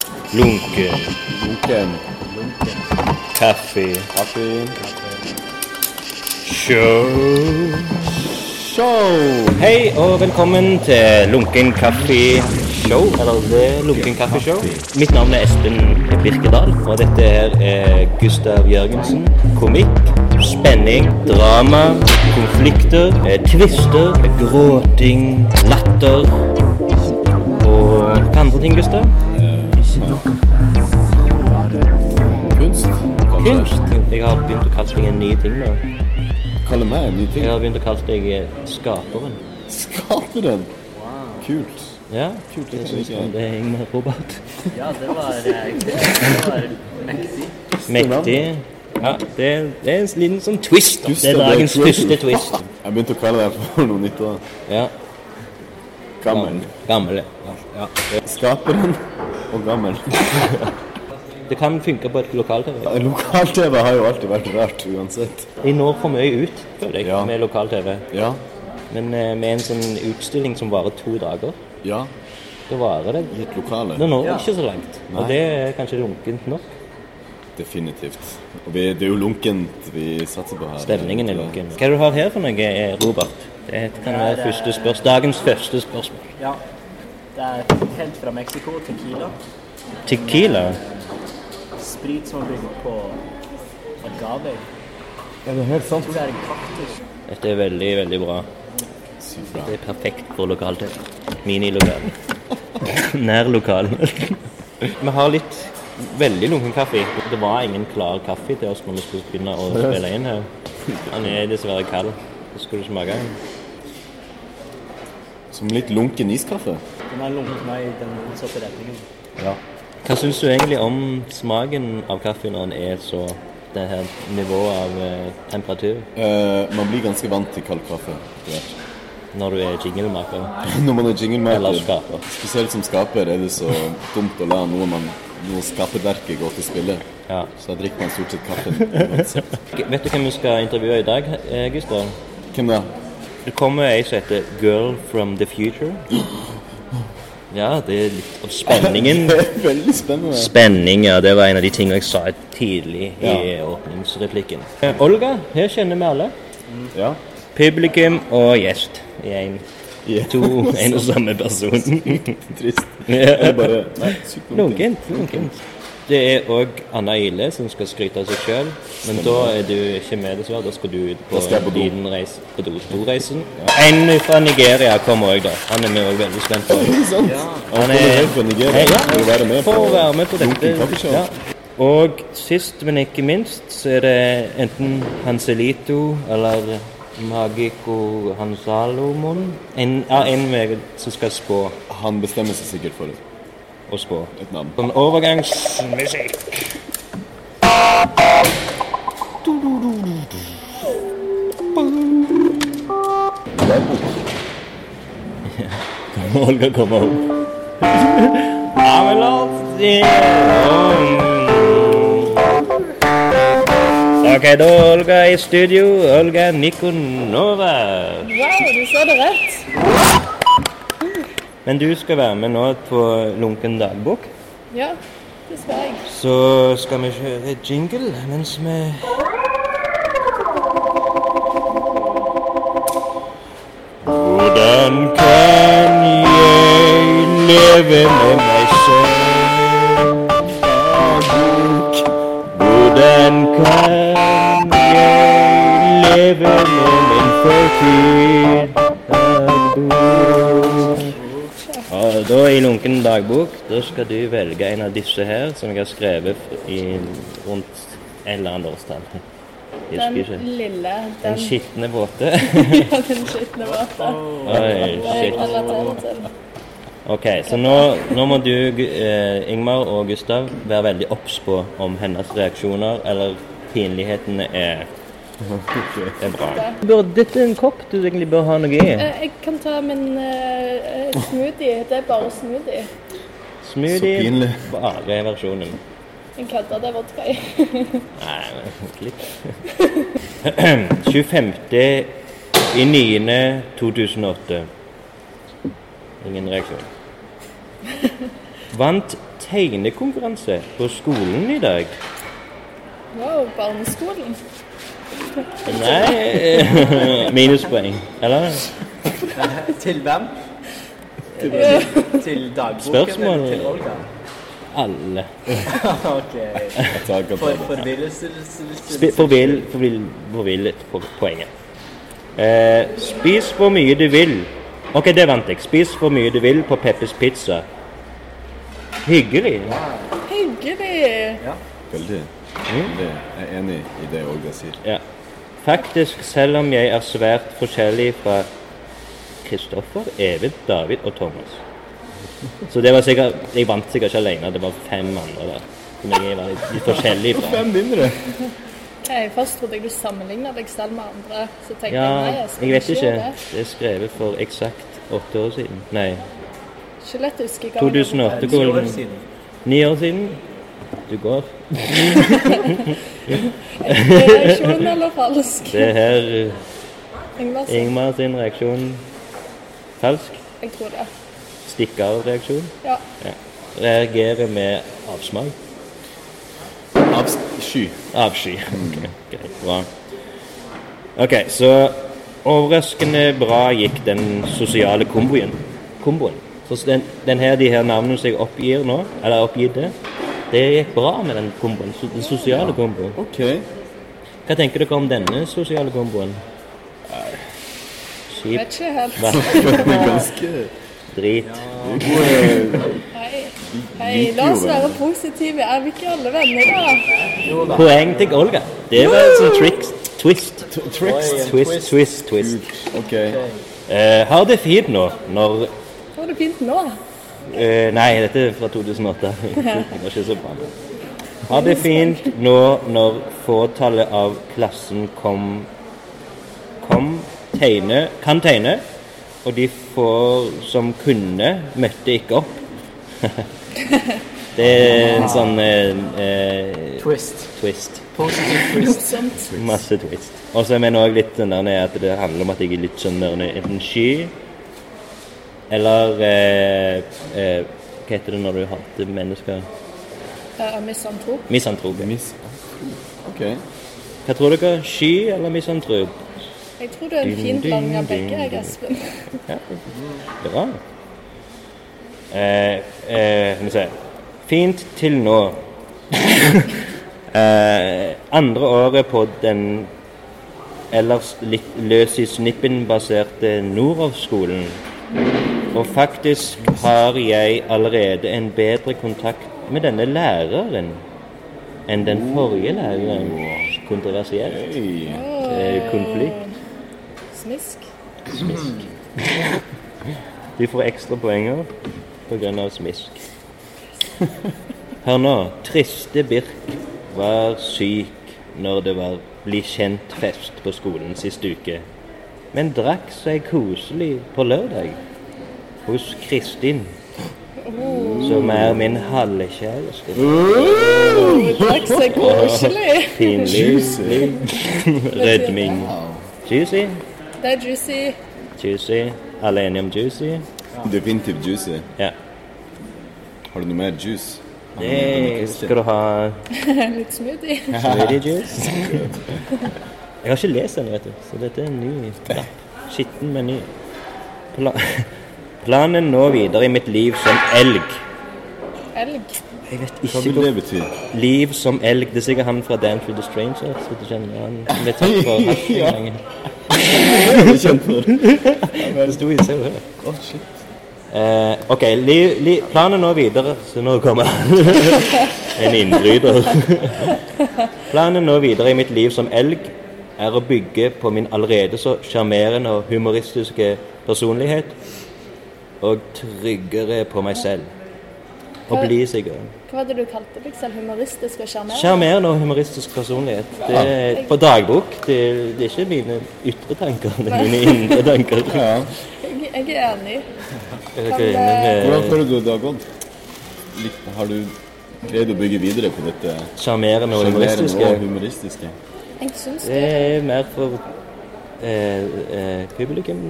Lunke, Lunken, Kaffee, Kaffee, Show. Show! Hei og velkommen til Lunken kaffe show, eller The Lunken kaffe show. Mitt navn er Espen Birkedal, og dette her er Gustav Jørgensen. Komikk, spenning, drama, konflikter, eh, twister, gråting, latter og hva andre ting, Gustav? Kunst. Kunst. Jeg har begynt å kalle meg en ny ting nå. Kaller meg en ny ting. Jeg har begynt å kalle deg eh, skaperen. Skaperen! Kult. Ja, Kult, det det kan jeg syns ikke. jeg det er Ingmar Robert. Ja, det var, eh, det var mektig. Mektig. Ja, det, det er en liten sånn twist. da. Gustav, Det er dagens det er creative. første twist. Jeg begynte å kalle deg for noe nytt da. Ja, Gammel. gammel. Ja, ja. Skaperen og gammel. Det kan funke på et lokal-TV. Lokal-TV har jo alltid vært rart uansett. Vi når for mye ut, føler jeg, Ja. med lokal-TV. Ja. Men eh, med en sånn utstilling som varer to dager, Ja. da varer det. I et lokale. Det når ikke så langt. Nei. Og det er kanskje lunkent nok. Definitivt. Og vi, det er jo lunkent vi satser på her. Stemningen er lunken. Hva er det du har her for noe, eh, Robert? Det kan være første spørsmål. Dagens første spørsmål. Ja. Det er helt fra Mexico, tequila. Tequila? Sprit som er bygd på agave. Jeg Er det helt sant? tror det er en kaktus. Dette er veldig, veldig bra. Sykt bra. Det er perfekt for lokal-TV. Minilokal. Nær lokalen. vi har litt veldig lunken kaffe. Det var ingen klar kaffe til oss når vi skulle begynne å spille inn her. Han er dessverre kald. Det skulle du smake. Som litt lunken iskaffe. Den har lunket meg i den motsatte retningen. Ja. Hva syns du egentlig om smaken av kaffe når den er så det her nivået av eh, temperatur Eh, man blir ganske vant til kald kaffe. etter hvert. når du er jinglemaker? Når man er Eller jinglemaker, skaper. spesielt som skaper, er det så dumt å la noe, man, noe skaperverket gå til spille. Ja. Så da drikker man stort sett kaffe. uansett. Vet du hvem vi skal intervjue i dag, eh, Gustav? Hvem da? Det kommer ei som heter Girl from the Future. Ja, det er litt av spenningen. Det er veldig spennende. Spenning, ja. Det var en av de tingene jeg sa tidlig i Ja. åpningsreplikken. Eh, Olga, her kjenner vi alle. Ja. Publikum og gjest i én, Ja. to, en og samme person. Trist. Ja. Eller bare Nei, sykt lunken. Lunkent. Lunkent. Det er òg Anna Ile som skal skryte av seg sjøl, men da er du ikke med, dessverre. Da skal du ut på Da skal jeg på en do. liten reis på do- doreisen. En fra Nigeria kommer òg, da. Han er vi òg veldig spent på. Ikke sant? Han Han er er fra Nigeria. Hei, ja. Vil være med For å være med på Lunken dette. kaffeshow. Ja. Og sist, men ikke minst, så er det enten Hanselito eller Magico Hansalomon. En, ja, en med, som skal spå Han bestemmer seg sikkert for et, og spå. et navn. Sånn overgangsmusikk. Olga kommer opp. Ja, men la oss si Ok, da er Olga i studio. Olga Nikonova. Wow, du sa det rett. Men du skal være med nå på Lunken dagbok. Ja, det sa jeg. Så skal vi kjøre jingle mens vi Hvordan kan jeg leve med meg selv? Hvordan kan jeg leve med min fortid? Dagbok. Og da i Lunken dagbok, da skal du velge en av disse her, som jeg har skrevet i rundt et eller annet årstall. Jeg Den husker ikke. lille, den, Den skitne våte. ja, den skitne våte. Oi, Det er jeg shit. relatert til. Ok, så nå, nå må du, Gu- eh, Ingmar og Gustav, være veldig obs på om hennes reaksjoner eller pinlighetene er, er bra. Bør, dette er en kopp du egentlig bør ha noe i. Eh, Jeg kan ta min eh, eh, smoothie. Det er bare smoothie. Så Smoothie, pinlig. bare versjonen. En kødda, det er vodka i. Nei, men klipp. 25. i 9. 2008. Ingen reaksjon. vant tegnekonkurranse på skolen i dag. Wow, barneskolen. Nei Minuspoeng. Eller? Til hvem? Eh, Til dagboken Spørsmål. eller til Olga? Alle. ok. Jeg tar ikke For, at det. forvirrelser Spi- Forvill forvill- forvillet på poenget. Eh, spis hvor mye du vil. Ok, det vant jeg. Spis hvor mye du vil på Peppers Pizza. Hyggelig. Hyggelig. Ja. Veldig. Mm. Veldig. Jeg er enig i det Olga sier. Ja. Faktisk, selv om jeg er svært forskjellig fra Kristoffer, Even, David og Thomas. Så det var sikkert Jeg vant sikkert ikke alene. Det var fem andre der som jeg var litt- litt forskjellig fra. mindre. Nei, først trodde jeg du sammenlignet deg selv med andre. Så tenkte jeg nei, Ja, jeg skal jeg vet ikke. gjøre det. Det er skrevet for eksakt åtte år siden. Nei, Ikke lett å huske hva man- 2008. Ti år hvordan- siden. Ni år siden. Du går. Reaksjon eller falsk? Det er her uh, Ingvar, sa- Ingmar sin reaksjon. Falsk. jeg tror det. Stikke av-reaksjon. Ja. Ja. Reagerer med avsmak. Abs sky. Avsky. Ok, greit. Bra. OK, så overraskende bra gikk den sosiale komboen. komboen. Så den, den her, de her navnene som jeg oppgir nå, eller oppgitte, det gikk bra med den komboen. so- Den sosiale komboen. OK. Hva tenker dere om denne sosiale komboen? Kjipt. Vet ikke helt. Ganske Drit. gode Hei. liker Hei, jo la oss hverandre. være positive. Er vi ikke alle venner, da? Jo da. Poeng til Olga. Det var altså triks, twist. tricks. Oi, en Twist, twist, twist. OK. Eh, har det fint nå når Har du fint nå? eh, Nei, dette er fra 2008. Det var ikke så bra. Har det fint nå når fåtallet av klassen kom Kom tegne Kan tegne, og de få som kunne, møtte ikke opp. Det er en sånn eh, eh, Twist. twist. Positive twist. Morsomt. Masse twist. Og så er vi òg litt den der nede at det handler om at jeg er litt sånn der nede, enten sky eller eh, eh, Hva heter det når du hater mennesker? Eh, Misantrop. Misantrop. ja. Miss. OK. Hva tror dere? Sky eller misantrop? Jeg tror du er en Ding, fin ding, blanding av ding, begge, jeg, ding. Espen. Ja. Bra. Eh, eh, skal vi se Fint til nå. eh, andre året på den ellers litt løs i snippen-baserte Norov-skolen. Og faktisk har jeg allerede en bedre kontakt med denne læreren enn den forrige læreren. Kontroversielt. Hey. Eh, konflikt. Smisk. Du får ekstra poenger pga. smisk. Hør nå. Triste Birk var syk når det var Bli kjent-fest på skolen sist uke, men drakk seg koselig på lørdag hos Kristin, som er min halvkjæreste. Det drakk seg koselig. Pinlig. Rødming. Juicy. Det er juicy. Juicy. Alle enige om juicy? Definitivt juicy. Ja. Har du noe mer juice? Det skal du ha Litt smoothie. Lady Juice. Jeg har ikke lest den, vet du, så dette er en ny lapp. Skitten, men ny. Pla Planen nå videre i mitt liv som elg. Elg. Jeg vet Hva ikke vil hvor det bety? Liv som elg. Det er sikkert han fra Dance with the Stranger. Så du kjenner han ble tatt for hasj en gang. Det sto i Se og Hør. Å, shit. Eh, ok, li, li, planen nå videre Så nå kommer han. en innbryter. planen nå videre i mitt liv som elg er å bygge på min allerede så sjarmerende og humoristiske personlighet. Og tryggere på meg selv. Og bli sikkert. Hva var det du kalte deg selv? Humoristisk og sjarmerende? Sjarmerende og humoristisk personlighet. Det er på dagbok. Det, det er ikke mine ytre tanker, det er mine indre tanker. Ja. Jeg, jeg er enig. Er dere enige med Hvordan føler du det har gått? Lik- Har du greid å bygge videre på dette sjarmerende og sjarmerende humoristiske? og humoristiske? Jeg syns Det det. er mer for eh, eh, publikum?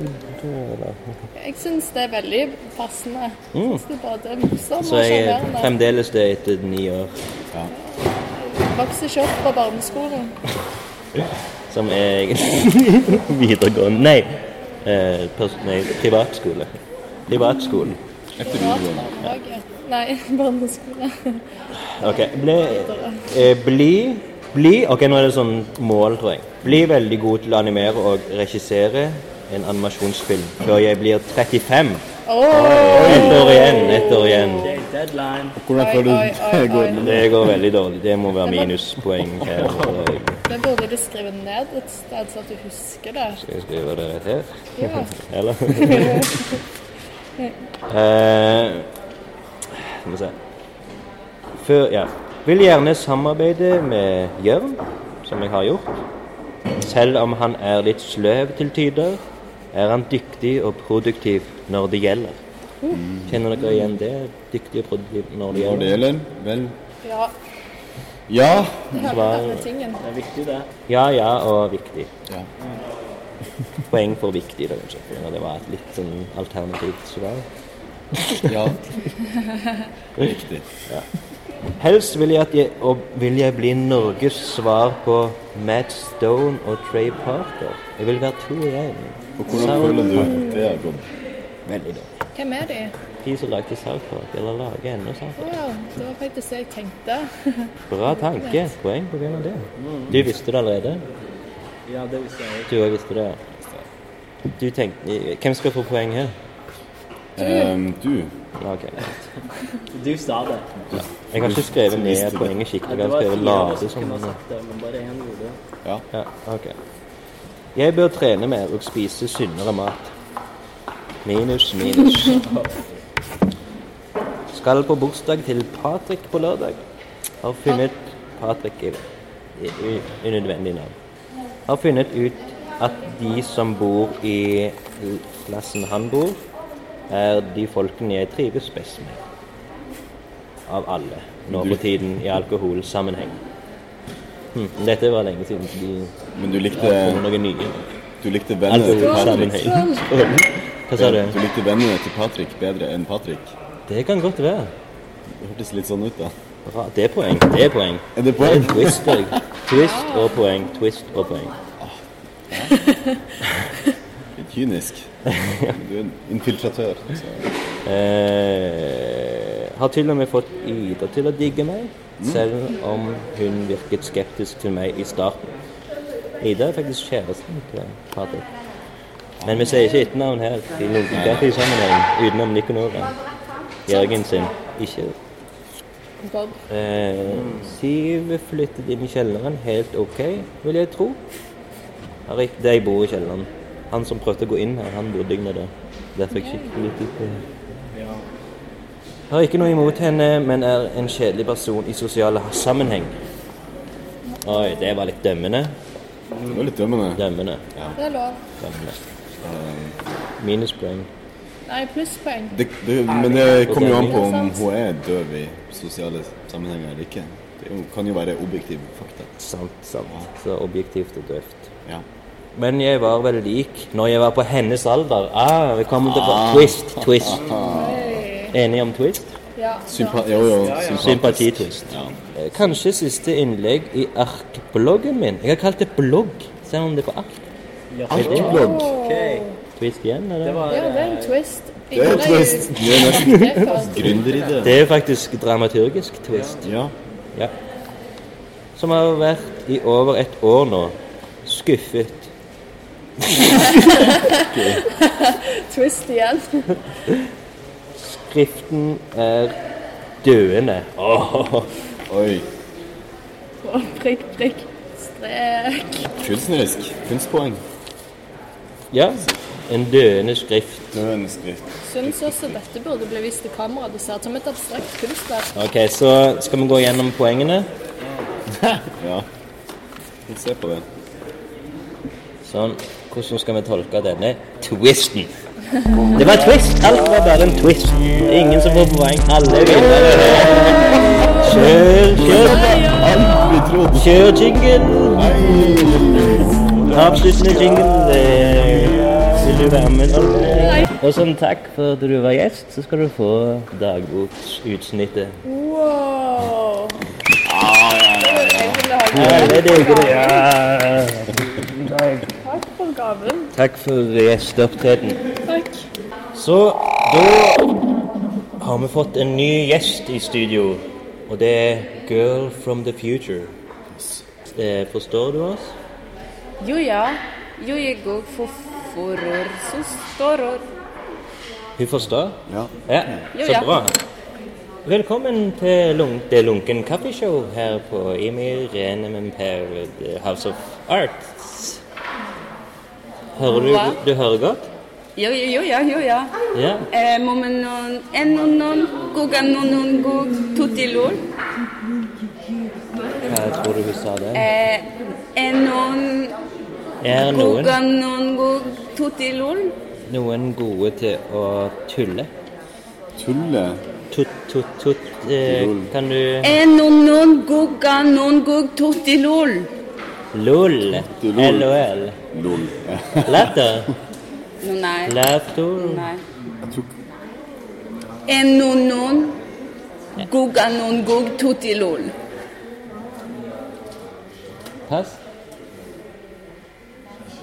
Eller? Jeg syns det er veldig passende. Jeg synes det er både morsomt Mm. Så og jeg er sjarmerende. fremdeles det etter ni år, Vokste ikke opp på barneskolen. som er videregående Nei, eh, pers nei privatskole. Privatskolen. Etter videregående. Privatbarnehage. Nei, barneskole. OK. Bli, eh, bli, bli OK, nå er det sånn mål, tror jeg. Bli veldig god til å animere og regissere en animasjonsfilm før jeg blir 35. Åh, Ett år igjen, ett år igjen. Det er deadline. Hvordan Oi, føler du oi, oi, det går oi. med det? Det går veldig dårlig. Det må være minuspoeng her. tror jeg. Det burde du skrive ned et sted, så at du husker det. Skal jeg skrive det rett her? Ja. Eller? Eh, Skal vi se Før, ja. Vil gjerne samarbeide med Jørn, som jeg har gjort. Selv om han er litt sløv til tider, er han dyktig og produktiv når det gjelder. Kjenner dere igjen det? Dyktig og produktiv når det Mm. Når det gjelder. gjelder, vel Ja, Ja. det hører Svar. med denne tingen. Det er viktig, det. Ja, ja og viktig. Ja. Poeng for viktig, da, kanskje. for Det var et litt sånn alternativt svar. ja. Riktig. Helst vil jeg, at jeg, og vil jeg bli Norges svar på Matt Stone og Trey Parker. Jeg vil være to igjen. Og hvordan føler du at det har gått? Veldig dårlig. Hvem er de? De som lagde South Park, eller lager ennå South Park. Å ja, det var faktisk det jeg tenkte. Bra tanke. Poeng på grunn av det. Du visste det allerede. Ja, det visste jeg Du òg visste det. Du tenkte, Hvem skal få poeng her? Ehm, du Ja, Ok, greit. også. Du sa det. Jeg har ikke skrevet ned poenget Ja, skikkelig. det Jeg var har skrevet fire av oss lade som kunne ha som sagt det, men bare én gjorde det. Ja. Ja, ok. Jeg bør trene mer og spise sunnere mat. Minus, minus. Skal på bursdag til Patrick på lørdag. Har funnet Patrick i, i, i unødvendig navn. Har funnet ut at de som bor i l- plassen han bor, er de folkene jeg trives best med. Av alle. Nå på tiden i alkoholsammenheng. Hm, dette var lenge siden de Men du likte, kom med noen nye. du likte vennene til Patrick Alkoholsammenheng. Hva sa du? Du likte vennene til Patrick bedre enn Patrick? Det kan godt være. Det hørtes litt sånn ut, da. Bra. Det er poeng. Det er poeng. Er det poeng? Twist, jeg. Twist og poeng. Twist og poeng. Litt kynisk. Du er en infiltratør. Så. Eh, har til og med fått Ida til å digge meg, selv om hun virket skeptisk til meg i starten. Ida er faktisk kjæresten til Patrick. Men vi sier ikke etternavn her. i Lunken Kaffe i sammenheng, utenom Nikonora. Jørgen sin. Ikke Bob. Eh, Siv flyttet inn i kjelleren, helt ok, vil jeg tro. Har ikke- De bor i kjelleren. Han som prøvde å gå inn her, han bodde ikke nede. Derfor fikk jeg ikke politisk Ja. eh. Har ikke noe imot henne, men er en kjedelig person i sosiale sammenheng. Oi, det var litt dømmende. Det var litt dømmende. Dømmende. Det er lov. dømmende. Minuspoeng. Nei, plusspoeng. Det, det, men det kommer jo an på om hun er døv i sosiale sammenhenger eller ikke. Det er jo- kan jo være objektive fakta. Sant, sant. Så objektivt og døvt. Ja. Men jeg var vel lik når jeg var på hennes alder. Ah, vi kommer til twist, twist. Oi. Enige om twist? Ja, Sympa da. jo, jo, Sympatitwist. Ja. Eh, Kanskje siste innlegg i ARK-bloggen min. Jeg har kalt det blogg, selv om det er på ARK. Ja, Er det så- Blogg. OK. Twist igjen, Det eller? var ja, det er eh, en twist. Det er en twist. Det er nesten gründeridé. Det er faktisk dramaturgisk twist. Ja. Ja. Som har vært i over et år nå. Skuffet. Twist igjen. Skriften er døende. Åh, Oi. Og prikk, prikk, strek. Kunstnerisk. Kunstpoeng. Ja. En døende skrift. Døende skrift. Syns også dette burde bli vist til kamera. Det ser ut som et abstrakt kunstverk. Ok, så skal vi gå gjennom poengene. Ja. Vi ser på det. Sånn. Hvordan skal vi tolke denne twisten? Det var twist! Alt var bare en twist. Ingen som får poeng. Alle vinner. Kjør, kjør. Ja, ja. Alt vi trodde. Kjør jingle. Nei. den avsluttende jinglen. Det vil du være med på? Og som takk for at du var gjest, så skal du få dagboksutsnittet. Wow. Jeg ville ha Ja, gaven. det digger det. Ja. Takk for gaven. Takk for gjesteopptreden. Takk. Så da har vi fått en ny gjest i studio, og det er Girl from the Future. Eh, Forstår du oss? Jo, ja. Jo, jeg går for forår, søsterår. Hun forstår? Ja. Ja, Jo, så ja. bra. Velkommen til lun det Lunken Kaffeshow her på Emil Renemann Parrot House of Arts. Hører du, Hva? du hører godt? Jo, jo, jo, ja, jo, ja. Ja. Eh, Mommen non, en non non, gugan non non gug, tutti lor. Jeg tror du hun sa det. Eh, en non, Eh, Er noen, gugan non gug, tutti lor. noen gode til å tulle? Tulle? Tut, tut, tut. Eh, Lol. kan du En non non, gugan non gug, tutti lor. LOL. Du lol. LOL. Lol. Latter. No, nei. Laughter. nei. Jeg tror En non non, gugan non gug, tutti lor. Pass.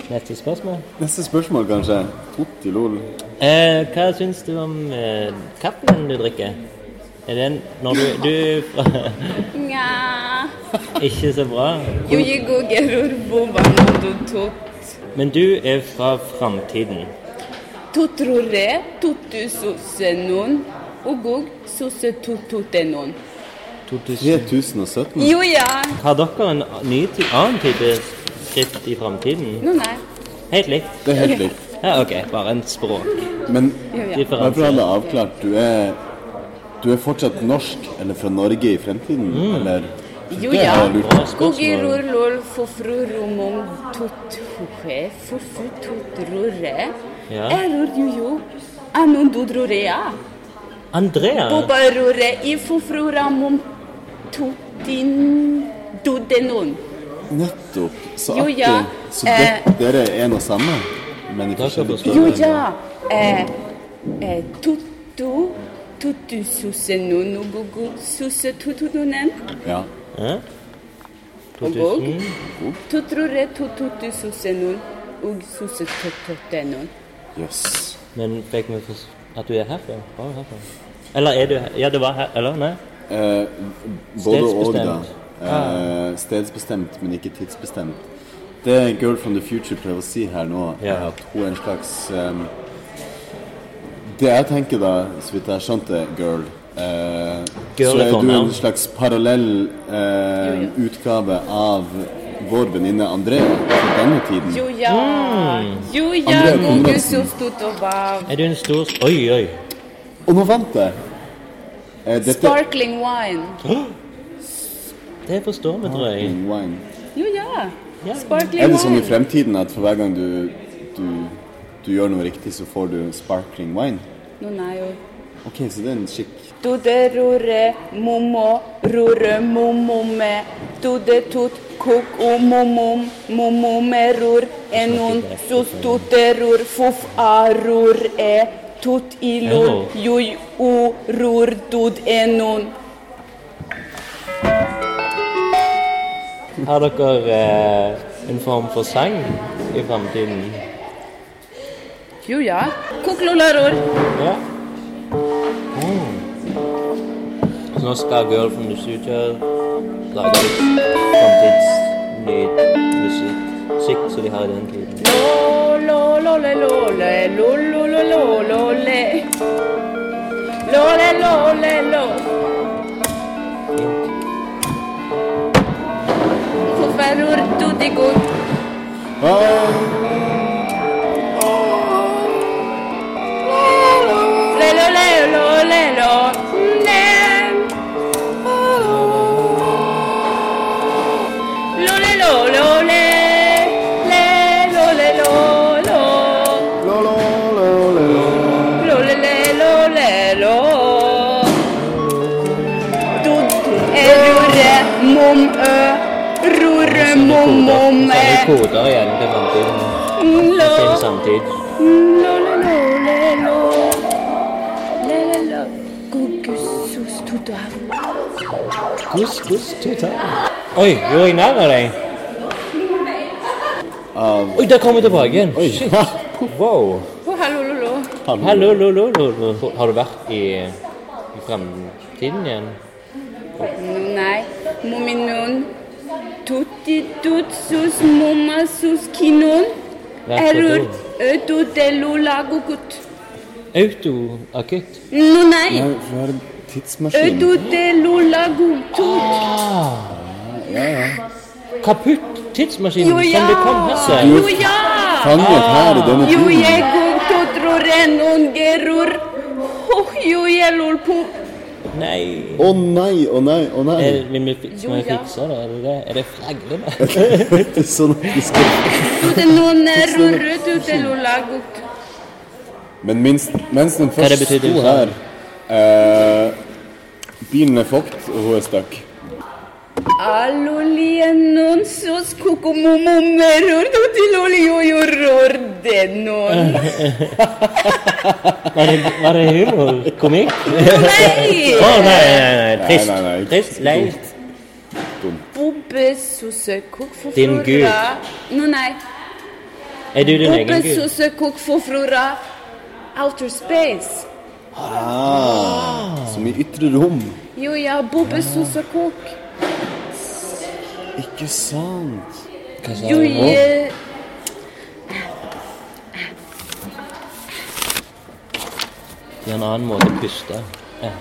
Neste spørsmål. Neste spørsmål, kanskje. Totti lol. Eh, hva syns du om eh, kaffen du drikker? Er den når du, du Nja. Ikke så bra. Jo, jeg går gerur, bomba non du tut. Men du er fra framtiden. Totrore, totusosenon, og og sosetututenon. 2000. 3017? Jo ja, Har dere en ny ti- annen type skrift i framtiden? no nei. Helt likt? Det er helt likt. Ja, OK. Bare en Men Jo bare ja. for å ha språkdifferanse. det avklart, du er du er fortsatt norsk, eller fra Norge i fremtiden, eller? Mm. Jo Det ja. har jeg lurt på. Gogirur lol fofrurumong tuthuhe fofututrure. Ja. Erur jo jo. Anon dudrurea. Andrea! Bobarure i fofruramom tutin dudenon. Nettopp. Så Jo, artig. ja. Så Eh. det, dere er en og samme? Men i Da skal forskjellige vi Jo ja. Eh, eh, tutu tutusosenon og og sosetututunen. Ja. Hæ? Og Gog. 2000. Du tror det to tutu sosenon og sosetottenon. Jøss. Yes. Men fikk vi fors- at du er herfra? Var du herfra? Eller er du her? Ja, det var her. Eller? Nei? Eh, både og, da. Stedsbestemt. Ah. Eh, stedsbestemt, men ikke tidsbestemt. Det Girl from the Future prøver å si her nå, Ja. er at hun er en slags eh, Det jeg tenker da, så vidt jeg har skjønt det, girl eh, Girl Så er er du en fornavn. slags parallell eh, utgave av vår venninne Andrea fra denne tiden. Jo ja, Mm. jo ja, Andrea Gog Konradsen. sostotovav. Er du en stor s- Oi, oi. Og nå vant jeg! Eh, dette Sparkling wine. Det forstår vi, tror jeg. Wine. Jo ja, Ja. sparkling Er det sånn i wine. fremtiden at for hver gang du, du, du gjør noe riktig, så får du sparkling wine? Nå nei jo. Ok, så det er en skikk Dude rore momo rore momome. Dude tut kok o momom momome ror enon sostute ror fof a ror e tut i lor Hello. Oh. joj o ror dud enon. Har dere eh, en form for sang i framtiden? Jo ja. Koklolaror. Ja. Mm. Så nå skal Girl from the Future lage litt framtidsnytt musikk som de har i den tiden. Lole lole lole lole lole lole. Lole lole lole. Fof a ror dud i god. Åh, Lelo, lelo, lelo, nem. Lo, lelo, lo, le. Lelo, lelo, lo. lo, lo, lo, lo. Lo, le, lelo, lelo. e, Dod, erure, mom, ø. Rorø, sånne koder, mummumme. sånne koder igjen til framtiden. e. Lo, Til samtid. lo, lo, lo, le, lo. Le, le, lo. Gugus, sus, tuto, hav. Gus, gus, tuta. Oi, gjorde jeg narr av deg? Oi, der kom jeg tilbake igjen. Shit. Wow. Å, Oh, hallo, lolo. Hallo, lo, lo, lo, lo. Har du vært i, i fremtiden igjen? Nei, muminun. Tutti, tut, sus, mumma, sus, kinun. That's the Erur, door. ötu, delu, la, gugut. Autoakutt. No, nei. Nei, for jeg har en tidsmaskin. Ötu, delu, la, gugut. Kaputt tidsmaskinen Jo, som ja. du kom her selv. Jo, ja. Fanget her i denne Jo, tiden. jeg gong totruren ungerur. Oh, jo, jeg lol på. Nei. Å nei, å nei, å nei. Er, vi må fi- Jo, må jeg ja. fikse det? Er det det? Er det flagrende? Sånn at vi skal... Du den noen rurru, du den lolagut. Men minst, mens den Hva er det først betyr det? sto her eh, Bilen er fucked, og hun er stuck. Allolien non sos kukumumumerur, du til oliojorur, den noen. Var det, var det humor? Komikk? Å, Nei! nei, nei, nei. Trist. Nei, nei, nei. Trist. Leit. Bobbe susse kuk for Din gud. frura. No, nei. Er du din Bobbe egen gud? susse kuk for frura. Outer space. Ah, som i ytre rom. Jo, ja, Ah. bobbe susse kuk. Ikke sant? Hva sa Jo, du nå? jeg... Det er en annen måte å puste. Eh,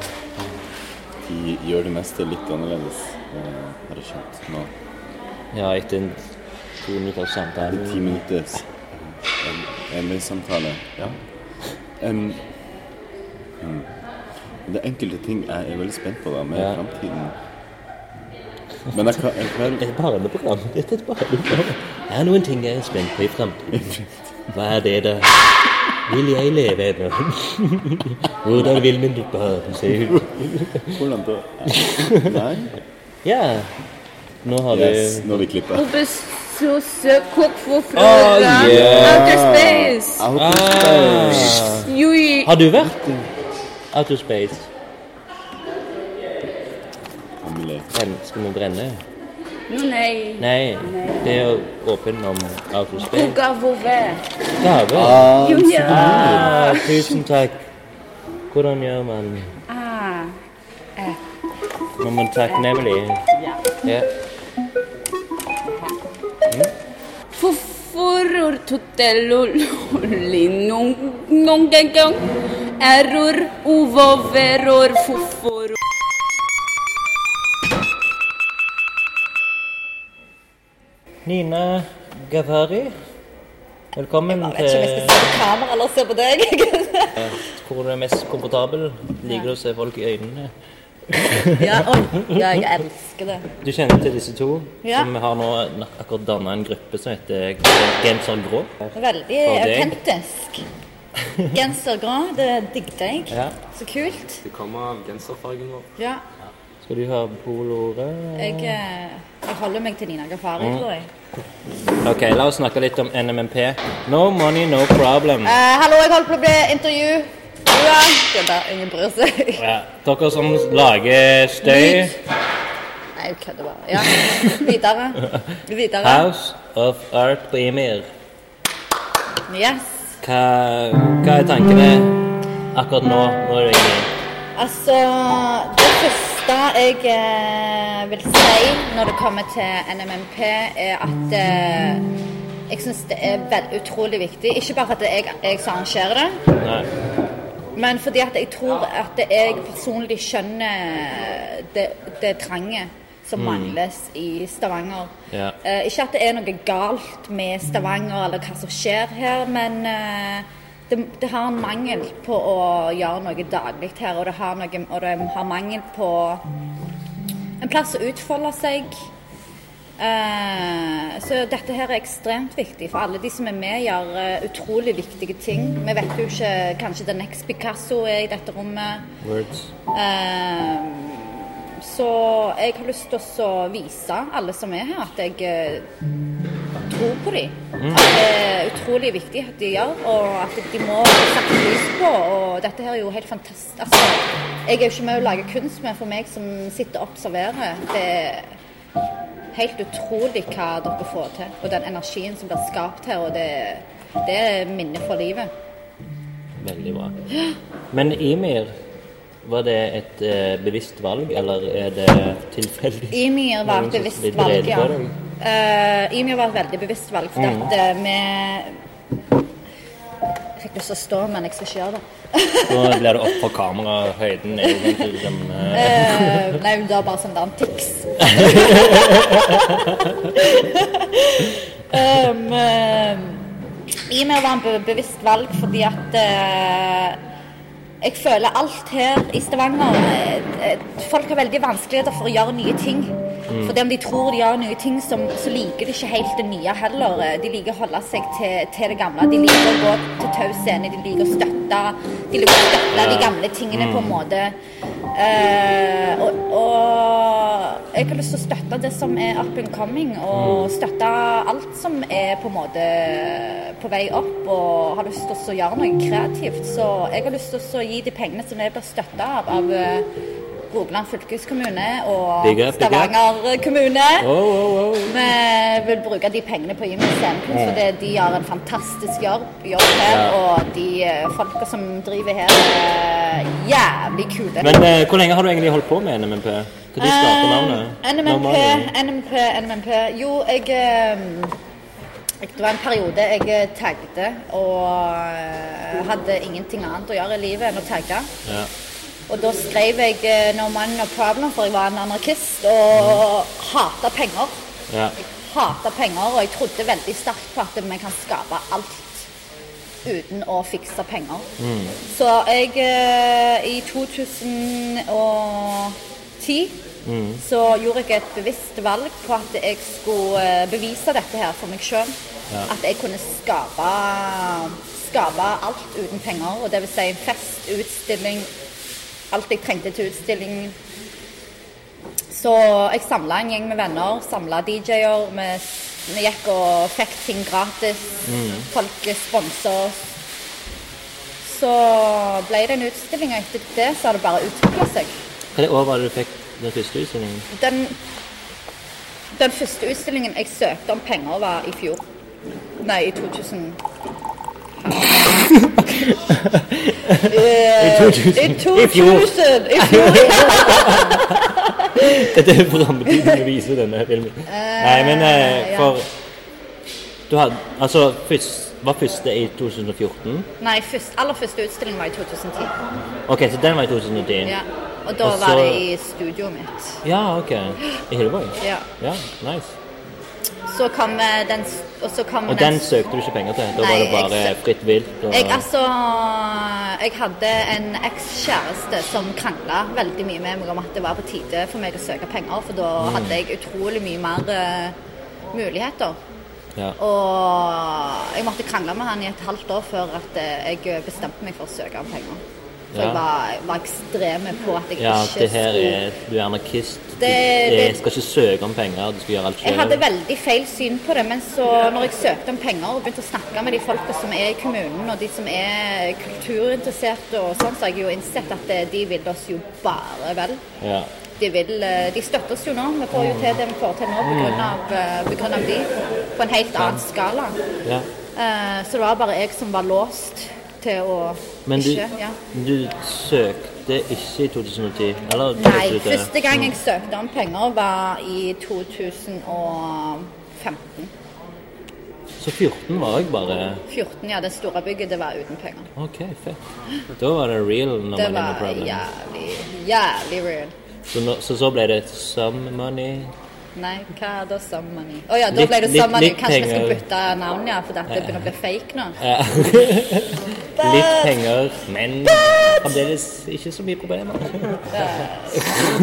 De gjør det meste litt annerledes, eh, har jeg skjønt nå. Ja, etter en to minutter samtale. Ti minutter ME-samtale. Ja. Em, mm. det er enkelte ting jeg er veldig spent på da, med Ja. fremtiden. Men jeg, kan- jeg klarer Det er et barneprogram. Dette er et barneprogram. Det er noen ting jeg er spent på i fremtiden. Hva er det, da? Vil jeg leve ennå? Hvordan vil min barn se ut? Hvordan da? Nei? Ja. Nå har Yes, du når vi klipper. Bobbe susse kuk for Oh, frura. yeah. Outer space. ah. Jo, i- Har du vært out of space? Emily. Brenn- Skal vi brenne? No, nei. Nei. Det er jo åpen om out of space. Boga vove. Gave. Jo, ja. Ah, tusen takk. Hvordan gjør man Ah. når man er takknemlig? Ja. Fufurur tuttelululin nongengong. Error uvoveror fufurur. Nina Gavari, velkommen Jeg vet ikke om jeg skal se på kamera eller se på deg. til hvor du er mest komfortabel. Liker du å se folk i øynene? ja, oi. ja, jeg elsker det. Du kjenner til disse to, Ja. som har nå akkurat danna en gruppe som heter Genser Grå. Veldig Og deg. autentisk. Gensergrå, det digget jeg. Ja. Så kult. Det kommer av genserfargen vår. Ja, Skal du ha polorød? jeg, eh, jeg holder meg til Nina Gafari, tror jeg. Ok, la oss snakke litt om NMNP. No money, no problem. Eh, hallo, jeg holder på å bli intervju. Ja, det der, ingen bryr seg. Ja. Dere som lager støy Nei, jeg kødder bare. Ja, videre. Videre. House of Art på Ymir. Yes. Hva, hva er tankene akkurat nå? Nå er det ingen. Altså, det første jeg eh, vil si når det kommer til NMMP, er at eh, jeg syns det er vel, utrolig viktig. Ikke bare fordi jeg, jeg som arrangerer det, Nei. men fordi at jeg tror at jeg personlig skjønner det, det tranget som mangles i Stavanger. Mm. Ja. Eh, ikke at det er noe galt med Stavanger eller hva som skjer her, men eh, det, det har en mangel på å gjøre noe daglig her, og det har, noe, og det har mangel på en plass å utfolde seg. Eh, Så dette her er ekstremt viktig, for alle de som er med gjør eh, utrolig viktige ting. Vi vet jo ikke, kanskje The Next Picasso er i dette rommet. Words. Eh, Ehm, Så jeg har lyst til å så vise alle som er her, at jeg eh, tror på dem. At det er utrolig viktig at de gjør, og at de må sette lys på. Og dette her er jo helt fantastisk. Altså, jeg er jo ikke med å lage kunst, men for meg som sitter og observerer, det er helt utrolig hva dere får til. Og den energien som blir skapt her, og det, det er minnet for livet. Veldig bra. Men Imir, var det et eh, bevisst valg, eller er det tilfeldig? Ymir var et Noen som bevisst blir valg, drevet ja. på det? Uh, Ymir var et veldig bevisst valg, for at eh, vi Jeg fikk lyst til å stå, men jeg skal ikke gjøre det. Nå blir det opp på kamerahøyden. er jo kanskje liksom, eh, Eh, nei, det var bare sånn der en tics. um, eh, Ymir var en be bevisst valg fordi at eh, jeg føler alt her i Stavanger eh, eh, Folk har veldig vanskeligheter for å gjøre nye ting. For det om de tror de gjør nye ting, som, så liker de ikke helt det nye heller. Eh, De liker å holde seg til, til det gamle. De liker å gå til tau scene, de liker å støtte De liker å støtte de gamle tingene på en måte. Eh, og, og jeg har lyst til å støtte det som er up and coming, Mm. og støtte alt som er på en måte på vei opp, og har lyst til å gjøre noe kreativt. Så jeg har lyst til å gi de pengene som jeg blir støtta av, av eh, Rogaland fylkeskommune og Big up, big up. Stavanger kommune. Wow, wow, wow. Vi vil bruke de pengene på Jimmy Scenekunst, for det, de gjør en fantastisk jobb, jobb her. Mm. Ja. Og de eh, folka som driver her, er jævlig kule. Men eh, hvor lenge har du egentlig holdt på med NMMP? Når starta navnet? Eh, NMNP, Navnet? NMP, NMNP. Jo, jeg, eh, jeg Det var en periode jeg eh, tagde og eh, hadde ingenting annet å gjøre i livet enn å tagge. Ja. Og da skrev jeg eh, 'No money, no problem', for jeg var en anarkist og hata penger. ja. Jeg hata penger, og jeg trodde veldig sterkt på at vi kan skape alt uten å fikse penger. Så jeg eh, I 2010 så gjorde jeg et bevisst valg på at jeg skulle eh, bevise dette her for meg sjøl. At jeg kunne skape, skape alt uten penger. Og det vil si en fest, utstilling, alt jeg trengte til utstilling. Så jeg samla en gjeng med venner, samla DJ-er. Vi, vi gikk og fikk ting gratis. Folk sponsa oss. Så ble det en utstilling, og etter det så har det bare utvikla seg. Hvilket år var det du fikk den første utstillingen? Den, den første utstillingen jeg søkte om penger, var i fjor. Nei, i 2000. Eh, I 2000. I fjor. I fjor. Dette er programmetiden å vise denne filmen. Nei, men eh, ja. for Du hadde Altså, først, var første i 2014? Nei, først, aller første utstilling var i 2010. OK, så den var i 2010? Ja, og da Og så- var det i studioet mitt. Ja, OK. I Hilleborg? Ja. ja. Nice. Så kom eh, den s- Og så kom Og den søkte du ikke penger til? Da Nei, var det bare jeg sø- fritt vilt? Og... jeg, altså, jeg hadde en ekskjæreste som krangla veldig mye med meg om at det var på tide for meg å søke penger, for da Mm. hadde jeg utrolig mye mer eh, muligheter. ja. Og jeg måtte krangle med han i et halvt år før at eh, jeg bestemte meg for å søke om penger. For Ja. jeg var, jeg var ekstreme på at jeg ja, ikke det her skulle er Du er anarkist. Du Det- eh, det- skal ikke søke om penger, du skal gjøre alt Jeg selv. hadde veldig feil syn på det, men så når jeg søkte om penger og begynte å snakke med de folka som er i kommunen og de som er kulturinteresserte og sånn, så har jeg jo innsett at eh, de vil oss jo bare vel. Ja. De, vil, eh, de støtter oss jo nå. Vi får jo til det vi får til nå pga. pga. de, på en helt annen skala. ja. Eh, Så det var bare jeg som var låst til å Men du, ikke ja. du søkte ikke i 2010? Eller søkte Nei, du til- første gang jeg søkte om penger var i 2015. Så 14 var jeg bare 14, ja. Det store bygget, det var uten penger. OK, fett. Da var det real no money, Det no var problem. jævlig, jævlig real. Så, nå, så så ble det some money Nei, hva er da Sammani? Å ja, da Litt- ble det litt- Sammani. litt Kanskje vi skal penger. bytte navn, ja, for dette begynner å bli fake nå. Ja. Litt penger, men fremdeles ikke så mye problemer.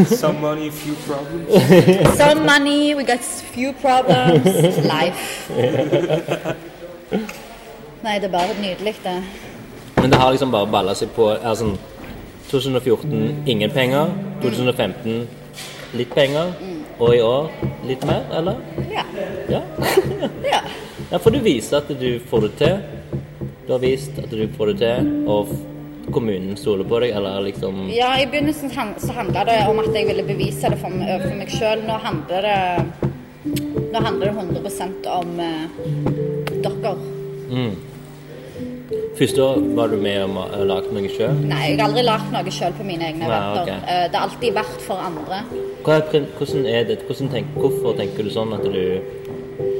Some money, few problems. Sammani, we got few problems. Life. Nei, det er bare nydelig, det. Men det har liksom bare balla seg på. er sånn 2014 ingen penger. 2015 litt penger, og i år litt mer, eller? Ja. Ja. ja. ja for du viser at du får det til. Du har vist at du får det til, og f- kommunen stoler på deg, eller liksom Ja, I begynnelsen han- så handla det om at jeg ville bevise det for meg, overfor meg sjøl. Nå handler det Nå handler det 100 om eh, dere. Første år var du med og ma- lagde noe sjøl. Nei, jeg har aldri lagd noe sjøl på mine egne Nei, eventer. ok. Eh, Det har alltid vært for andre. Hva er prin- Hvordan er det? Hvordan tenk, hvorfor tenker du sånn at du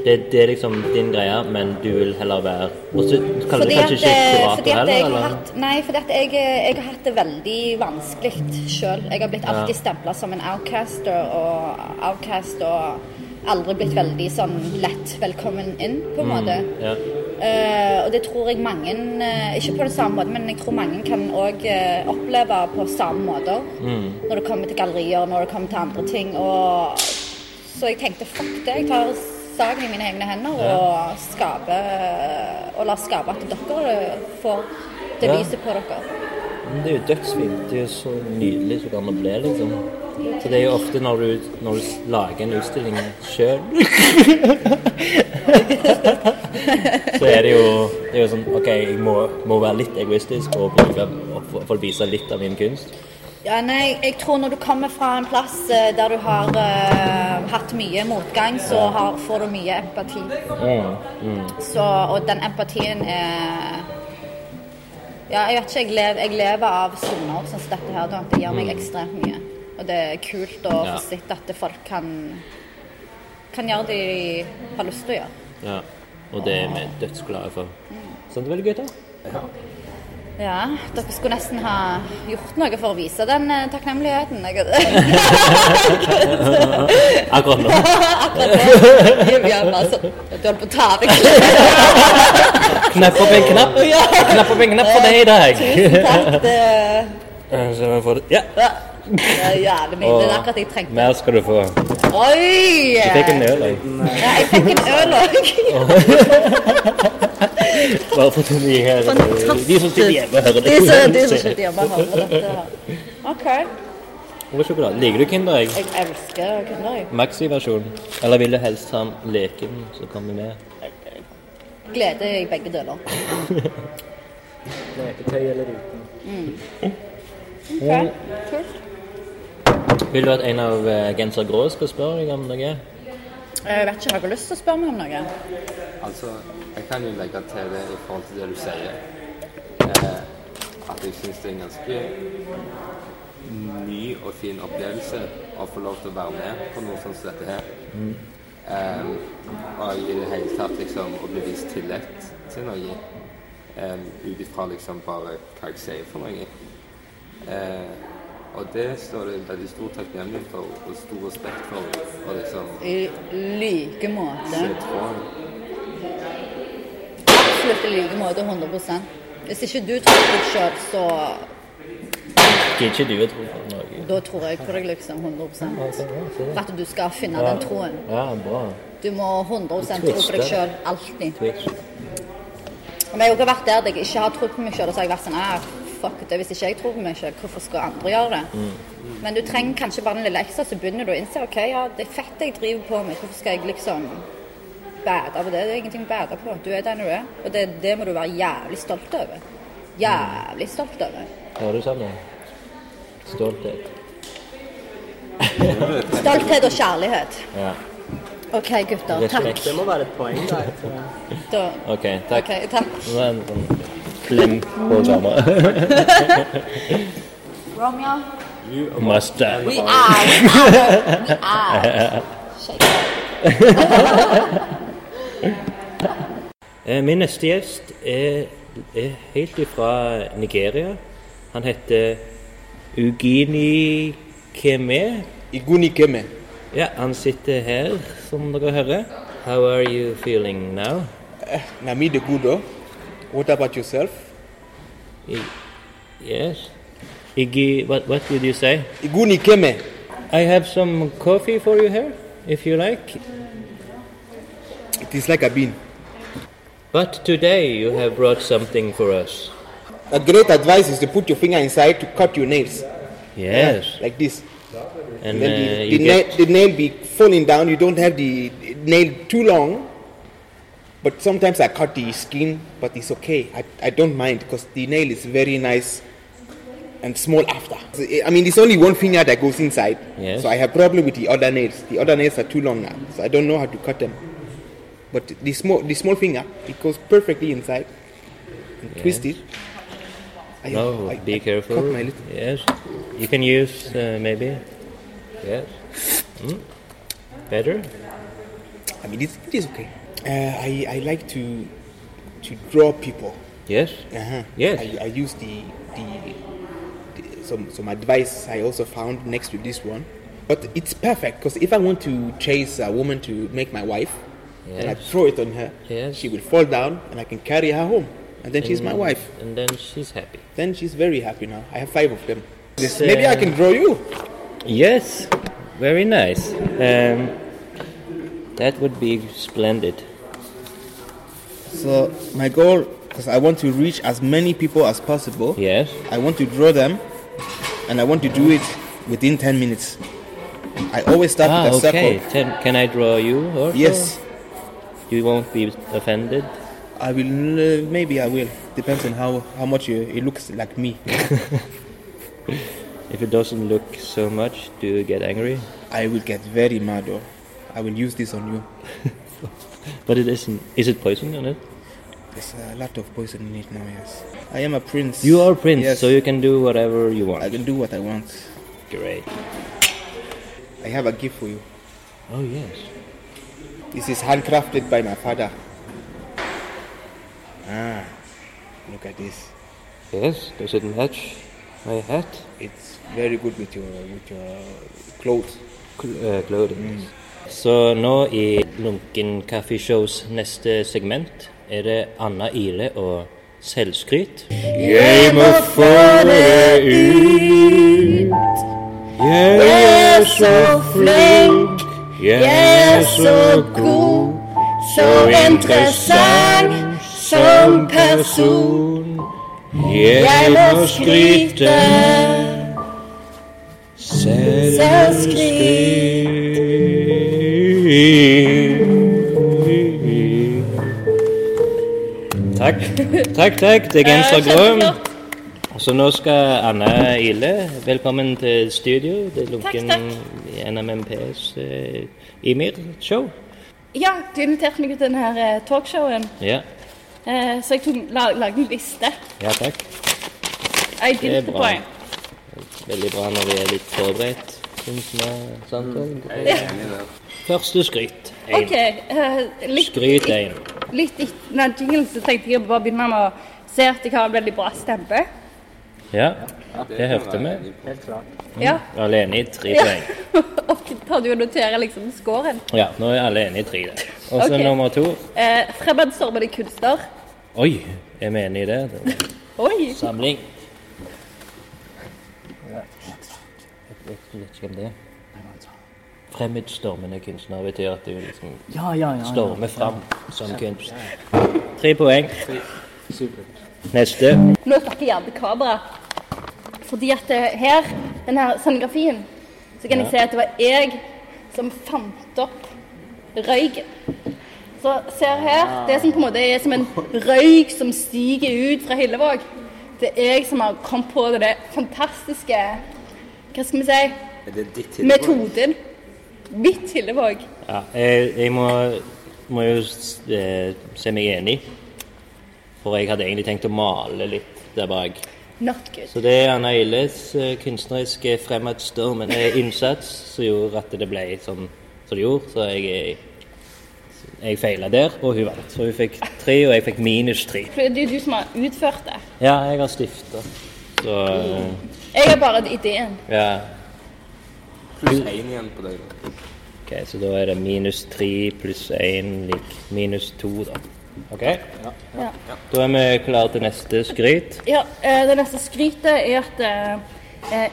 det, det er liksom din greie, men du vil heller være Og så kaller du Fordi at, kanskje ikke eh, kurator fordi at heller, jeg har eller? hatt Nei, fordi at jeg, eh, jeg har hatt det veldig vanskelig sjøl. Jeg har blitt alltid stempla som en outcaster og outcast og aldri blitt veldig sånn lett velkommen inn, på en måte. Mm, Ja. Eh, og det tror jeg mange eh, Ikke på den samme måten, men jeg tror mange kan òg oppleve på samme måter. Når det kommer til gallerier, når det kommer til andre ting. Og, så jeg tenkte fuck det. Jeg tar saken i mine egne hender og skaper eh, Og lar skape at dere får det Ja. lyset på dere. Men Det er jo dødsfint. Det er jo så nydelig som kan det bli, liksom. Så det er jo ofte når du, når du lager en utstilling sjøl Så er det jo, det er jo sånn OK, jeg må, må være litt egoistisk og bruke og få- få vise litt av min kunst. Ja, nei, jeg tror når du kommer fra en plass eh, der du har eh, hatt mye motgang, så har, får du mye empati. Så, og den empatien er Ja, jeg vet ikke, jeg lever, jeg lever av soner sånn som dette her. da. Det gir meg ekstremt mye. Og det er kult å Ja. få sett at folk kan, kan gjøre det de har lyst til å gjøre. Ja. Og det er vi dødsglade for. Så det er veldig gøy, da. Ja, dere skulle nesten ha gjort noe for å vise den eh, takknemligheten. Jeg, Akkurat nå. Jeg gjør bare sånn Du holdt på å ta av deg Knapp opp en knapp. Knapp opp en knapp for deg i dag. Tusen takk. Det Eh, Så vi får det. Ja. ja, det er jævlig mye. Det er akkurat det jeg trengte. Mer skal du få. Oi! Du fikk en øl òg. Ja, jeg fikk en øl òg. Bare for at de her eh, De som sitter hjemme, hører De som de det. som sitter hjemme og hører dette her. OK. Og sjokolade. Liker du Kinder Egg? Jeg elsker kunder. jeg. Maxi-versjonen. Eller vil du helst ha den leken som kommer med? Glede i begge deler. Leketøy eller uten. OK, kult. Vil du at en av eh, Genser Grå skal spørre deg om noe? Jeg vet ikke, har dere lyst til å spørre meg om noe? Altså, jeg kan jo legge til det i forhold til det du sier. Eh, at jeg syns det er en ganske ny og fin opplevelse å få lov til å være med på noe sånt som dette her. Eh, og i det hele tatt liksom å bli vist tillit til noe. Eh, Ut ifra liksom bare hva jeg sier for noe. Eh, og det står det veldig stor takknemlighet for og stor respekt for. Og liksom I like måte. se tråden. Absolutt i like måte. 100 Hvis ikke du tror på deg sjøl, så Gidder ikke du å tro på noe? da tror jeg på deg liksom 100 For at du skal finne den troen. Ja, bra. Du må 100 tro på deg sjøl alltid. Twitch. Men jeg har jo vært der jeg ikke har trodd på meg sjøl, og så har jeg vært sånn ah, fuck det, hvis ikke jeg tror på meg sjøl, hvorfor skal andre gjøre det? Mm. Men du trenger kanskje bare den lille ekstra, så begynner du å innse OK, ja, det er fett jeg driver på med, hvorfor skal jeg liksom bæde på det? Det er ingenting å bæde på. Du er den du er, og det, det må du være jævlig stolt over. Jævlig stolt over. Hører du sammen? Stolthet. Stolthet og kjærlighet. Ja. OK, gutter. Takk. Respekt. Det må være et poeng, da. etter- Da, OK, takk. OK, takk. Nå er det en sånn klem på dama. Romeo, Mustang. we are. We are. We are. Shake it. Eh, Min neste gjest er, er helt ifra Nigeria. Han heter Ugini Keme. Iguni keme. Ja, han sitter her, som dere hører. How are you feeling now? Nami the Gudo. What about yourself? I- Yes. Iggy, what, what did you say? Iguni Keme. I have some coffee for you here, if you like. It is like a bean. But today you have brought something for us. A great advice is to put your finger inside to cut your nails. Yes. like this. And Then uh, the, you the, get na- the nail be falling down. You don't have the nail too long. But sometimes I cut the skin, but it's okay. I, I don't mind because the nail is very nice and small after. So, I- I mean, it's only one finger that goes inside. Yes. So I have problem with the other nails. The other nails are too long now, so I don't know how to cut them. But the small the small finger it goes perfectly inside and twist it. I- No, I- I be cut careful. my little- Yes. You can use uh, maybe. Yes. Mm. Better? I mean, it's, it is okay. Uh, I, I like to to draw people. Yes. Uh-huh. Yes. I, I use the, the, the some some advice I also found next to this one, but it's perfect because if I want to chase a woman to make my wife, and I Yes. throw it on her, Yes. she will fall down, and I can carry her home, and then she's my And- wife. And then she's happy. Then she's very happy now. I have five of them. This, Maybe I uh, can draw you. Yes, very nice. Um, that would be splendid. So my goal, because I want to reach as many people as possible. Yes. I want to draw them, and I want to do it within 10 minutes. I always start Ah, with a okay. Oh. circle. Can, can I draw you? Also? Yes, You won't be offended. I will. Uh, maybe I will. Depends on how how much you, it looks like me. If it doesn't look so much, do you get angry? I will get very mad, or I will use this on you. But it isn't. Is it poison on it? There's a lot of poison in it now. Yes, I am a prince. You are prince, Yes. so you can do whatever you want. I can do what I want. Great. I have a gift for you. Oh yes. This is handcrafted by my father. Ah, look at this. Yes. Does it match my hat? It's very good with your with your clothes. Cl- uh, clothing. Så nå i Lunken Coffee Shows neste segment er det Anna Ile og selvskryt. Jeg må få det ut. Jeg er så flink. Jeg er så god. Så interessant som person. Jeg må skryte. Selvskryt. Takk. Takk, takk. Det er genser grå. Kjempeflott. Så nå skal Anna Ile, velkommen til studio. Det er lunken takk. NMMPs eh, Ymir-show. Ja, du inviterte meg til denne talkshowen, Ja. eh, så jeg tok, la, lagde en liste. ja, takk. Jeg Det er begynte på bra. en. Veldig bra når vi er litt forberedt. Synes vi, sant? Første skryt. En. OK. Eh, litt, Skryt én. litt etter den jinglen så tenkte jeg å bare begynne med å se at jeg har en veldig bra stemme. Ja, det hørte vi. Mm, Helt klart. Ja. Alle er enige i tre Ja. poeng. Og tar du og noterer liksom scoren. Ja, nå er alle enige i tre. der. Og så Ok. nummer to. Eh, Fremadstormende kunstner. Oi, er vi enige i det? Det var Oi! Samling. Jeg vet vet ikke hvem det er. Fremmedstormende kunstner betyr at du liksom Ja, ja, ja. stormer fram som kunst. Tre poeng. Supert. Neste. Nå snakker jeg til kamera. Fordi at eh, her, denne scenografien, så kan jeg se at det var jeg som fant opp røyken. Så ser her, det som på en måte er som en røyk som stiger ut fra Hillevåg. Det er jeg som har kommet på det fantastiske, hva skal vi si, Er det ditt metoden. Hvitt Hillevåg. Ja, jeg, jeg må, må jo s- eh, se meg enig. For jeg hadde egentlig tenkt å male litt der bak. Not good. Så det er Anna Illes eh, kunstneriske fremadstormende innsats som gjorde at det ble sånn som det gjorde. Så jeg, er- jeg feila der, og hun vant. Så hun fikk tre, og jeg fikk minus tre. For det er jo du som har utført det. Ja, jeg har stifta. Så eh, Jeg har bare ideen. ja. Pluss én igjen på deg. da. Ok, Så da er det minus tre pluss én lik minus to, da. OK? Ja. Da er vi klare til neste skryt. Ja, eh, det neste skrytet er at eh,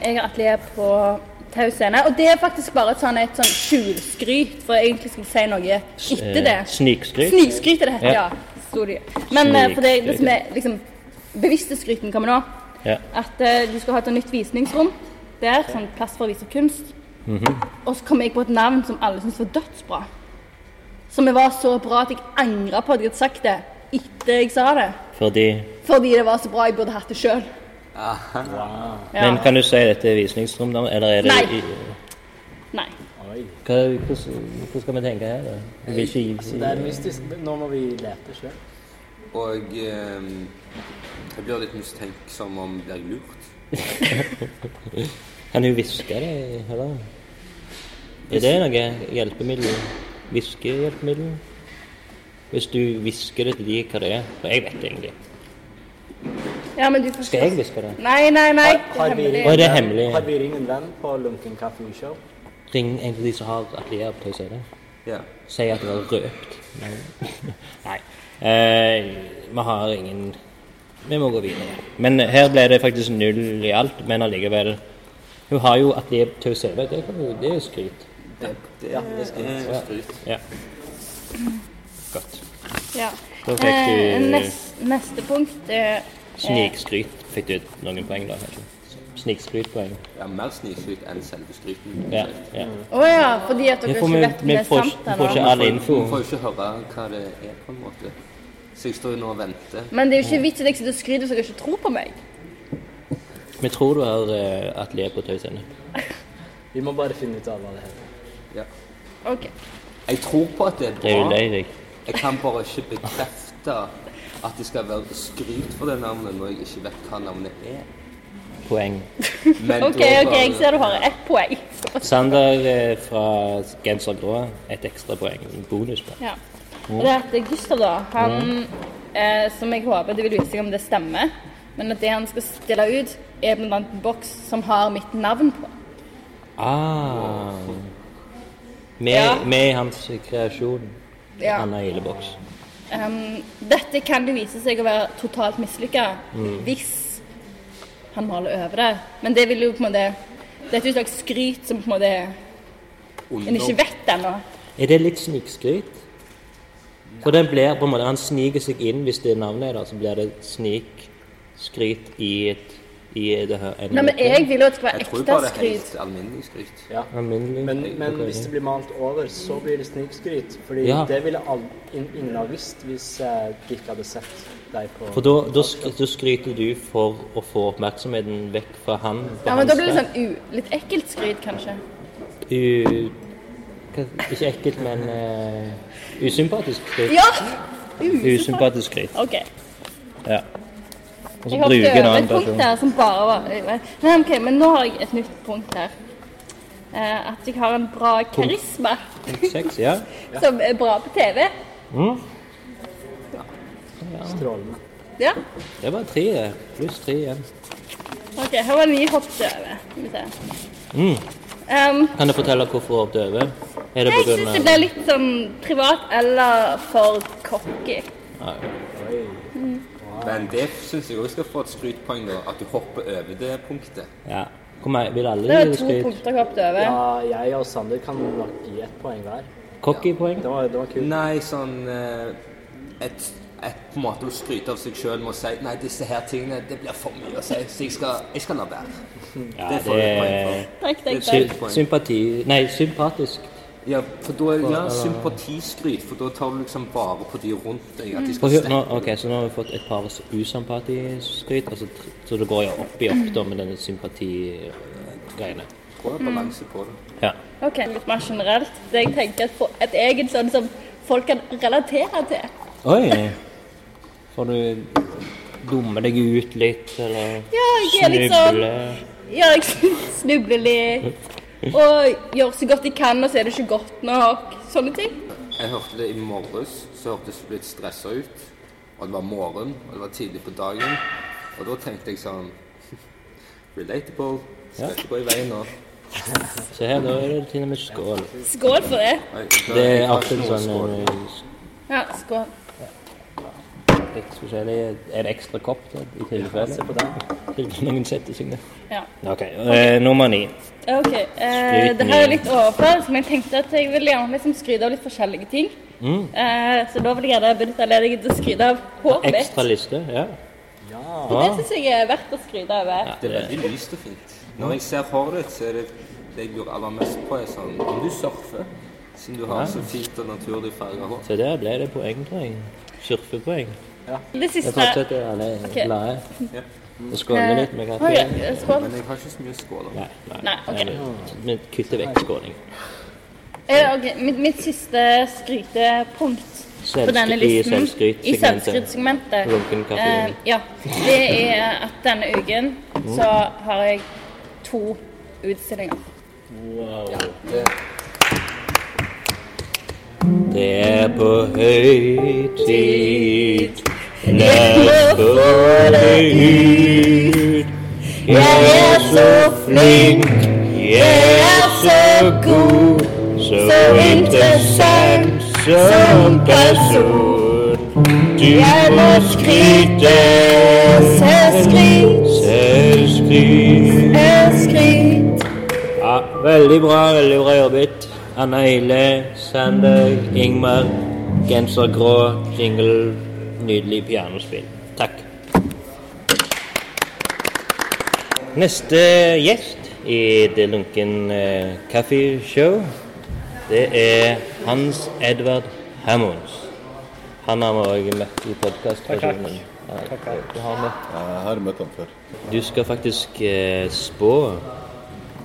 jeg har atelier på Tau scene. Og det er faktisk bare et sånn et sånn skjulskryt, for jeg egentlig skulle si noe etter det. Eh, Snikskryt. Snikskryt er det Ja. heter, ja. Sto det. Men eh, for det, det som Snikskryt, er liksom bevisste skryten kommer nå, Ja. at eh, du skal ha et nytt visningsrom. der, sånn plass for å vise kunst. Mhm. Og så kom jeg på et navn som alle syntes var dødsbra. Som var så bra at jeg angra på at jeg hadde sagt det etter jeg sa det. Fordi Fordi det var så bra jeg burde hatt det sjøl. Ja. Men kan du si dette er visningsrommet, eller er det Nei. i- Nei. Hva, hvordan, hvordan skal vi tenke her? da? Vi vil ikke gi- Det er mystisk. men Nå må vi lete selv. Og ehm, jeg blir litt mistenksom om det er lurt. Kan du hviske det, eller? Er det noe hjelpemiddel? Hviskehjelpemiddel? Hvis du hvisker det til de hva det er For jeg vet det egentlig. Ja, men du får Skal jeg hviske det? Nei, nei, nei. Det er Har vi Og hemmelig. er det hemmelig? Har vi ringt en venn på Lunken Kaffe Show? Ring en av de som har atelier til å si det. Ja. Si at det var røpt. Nei. Nei. Eh, vi har ingen Vi må gå videre. Men her ble det faktisk null i alt, men allikevel Hun har jo atelier til å si det. Det kan jo- Det er jo skryt. Det, det, det er skryt. Ja. Godt. Ja. Da fikk Eh, du- nes- neste punkt eh, er Snikskryt fikk du noen poeng, da? kanskje? Snikskrytpoeng. Ja, mer snikskryt enn selve skryten. Ja. ja. Å ja, fordi at dere Vi får, ikke vi, vet om vi det er får, sant vi får eller ikke noe. all info. Man får jo ikke høre hva det er, på en måte. Så jeg står jo nå og venter. Men det er jo ikke vits at jeg sitter og skryter så dere ikke tror på meg. Vi tror du har eh, atelier på Tøys Ende. Vi må bare finne ut av hva det heter. Ja. Ok. Jeg tror på at det er Det er jo bra. lei deg. Jeg kan bare ikke bekrefte at det skal være skryt for det navnet når jeg ikke vet hva navnet er. Poeng. Men Ok, da ok, bare- jeg ser du har ett poeng. Sander eh, fra Genser Grå, et ekstra poeng. En bonus. Da. Ja. Og det er at Gustav, da, han eh, som jeg håper det vil vise seg om det stemmer, men at det han skal stille ut, er blant annet en boks som har mitt navn på. Ah. Med, Ja. med i hans kreasjon. Ja. Anna Ileboks. Em, dette kan det vise seg å være totalt mislykka Mm. hvis han maler over det. Men det vil jo på en måte Det er et slags skryt som på en måte en ikke vet ennå. Er det litt snikskryt? For den blir på en måte, Han sniker seg inn hvis det er navnet, da, så blir det snikskryt i et i det her, en- Nei, men jeg vil jo at det skal være Jeg tror ekte bare det er skryt. helt alminnelig skryt. Ja. Alminnelig. Men, men Ok. hvis det blir malt over, så blir det snikskryt. Fordi Ja. det ville all, in, ingen ha visst hvis eh, de ikke hadde sett deg på For da, da, sk- da skryter du for å få oppmerksomheten vekk fra han. på Ja, men hans da blir det vei. sånn u, litt ekkelt skryt, kanskje. U... hva- Ikke ekkelt, men eh, usympatisk skryt. Ja! Usympatisk skryt. OK. Ja. Og så Jeg hoppet bruker en over et annen punkt person. der som bare var Nei, OK, men nå har jeg et nytt punkt her. Eh, at jeg har en bra karisma Punkt seks, ja. Mm. som er bra på TV. strålene. Ja. Det var tre, det. Pluss tre igjen. OK, her var det mye hopp til over. Skal vi se. Um, Kan du fortelle hvorfor hun hoppet over? Er det jeg på grunn syns av det ble litt sånn privat eller for cocky. Men det syns jeg òg skal få et skrytpoeng, da, at du hopper over det punktet. Ja. Hvor mange vil Det alle var gi to skryt? punkter jeg hoppet over. Ja, jeg og Sander kan nok gi ett poeng hver. Cocky-poeng? Det var, det var kult. Nei, sånn eh, et, et på en måte å skryte av seg sjøl med å si Nei, disse her tingene, det blir for mye å si, så jeg skal, jeg skal la være. Ja, Det får det du et poeng er for. Takk, Det er takk, takk. et skrytpoeng. sympati... Nei, sympatisk. Ja, for da er ja, sympatiskryt, for da tar du liksom vare på de rundt deg. At Mm. de Og skal hør, nå, steppe ok, Så nå har vi fått et par usympatiskryt, altså, tr- så det går jo opp i opp da med denne sympatigreiene. på balanse på det. Ja. Ok, litt mer generelt. Det jeg tenker at, for- at jeg er en sånn som folk kan relatere til. Oi! Får du dumme deg ut litt, eller Ja, jeg er litt sånn Ja, jeg snubler litt. Og gjør så godt jeg kan, og så er det ikke godt nok. Sånne ting. Jeg hørte det i morges, så hørtes jeg litt stressa ut. Og det var morgen, og det var tidlig på dagen. Og da tenkte jeg sånn Relatable. Skal ikke gå i veien nå. Se her, da er det til og med skål. Skål for det. Nei, Det er jeg tar alltid ikke noe sånn skål. eh, Ja, skål. litt forskjellig Er det ekstra kopp til, i tilfelle? På den. Tilfelle noen setter seg ned. Ja. OK. eh, nummer ni. OK. Eh, det her er litt overfladisk, men jeg tenkte at jeg ville gjerne liksom skryte av litt forskjellige ting. Mm. Eh, så da vil jeg gjerne benytte anledningen til å skryte av håret mitt. Ekstra liste, ja. Det syns jeg er verdt å skryte eh. over. Det er veldig lyst og fint. Når jeg ser håret ditt, så er det det jeg lurer aller mest på, er sånn Om du surfer, siden du har så fint og naturlig farga hår. Så der ble det poeng, tror jeg. Surfepoeng. Det Jeg siste fortsetter alle Ok. glade. Ja. Og skåler litt med Oi, katten. Skål. Men jeg har ikke så mye skåler. Nei, nei. Nei, ok. nei, Vi kutter vekk skåling. Eh, ok, Mitt, mitt siste skrytepunkt på Selvskry- denne i listen selvskrytsegmentet. I selvskrytsegmentet. Runkenkategorien. Eh, ja. Det er at denne uken så har jeg to utstillinger. Det er på høy tid. Lett å få det ut. Jeg er så flink. Jeg er så god. Så interessant som person. Du må skryte. Selvskryt, Mm. Selvskryt. selvskryt. Ja, veldig bra, veldig bra jobbet. Anna Hille, Sander, Ingmar, gensergrå, jingle, nydelig pianospill. Takk. Neste gjest i Det lunken eh, kaffeshow, det er Hans Edvard Hammonds. Han har vi også møtt i podkastversjonen. Du har møtt Jeg har møtt han før. du skal faktisk eh, spå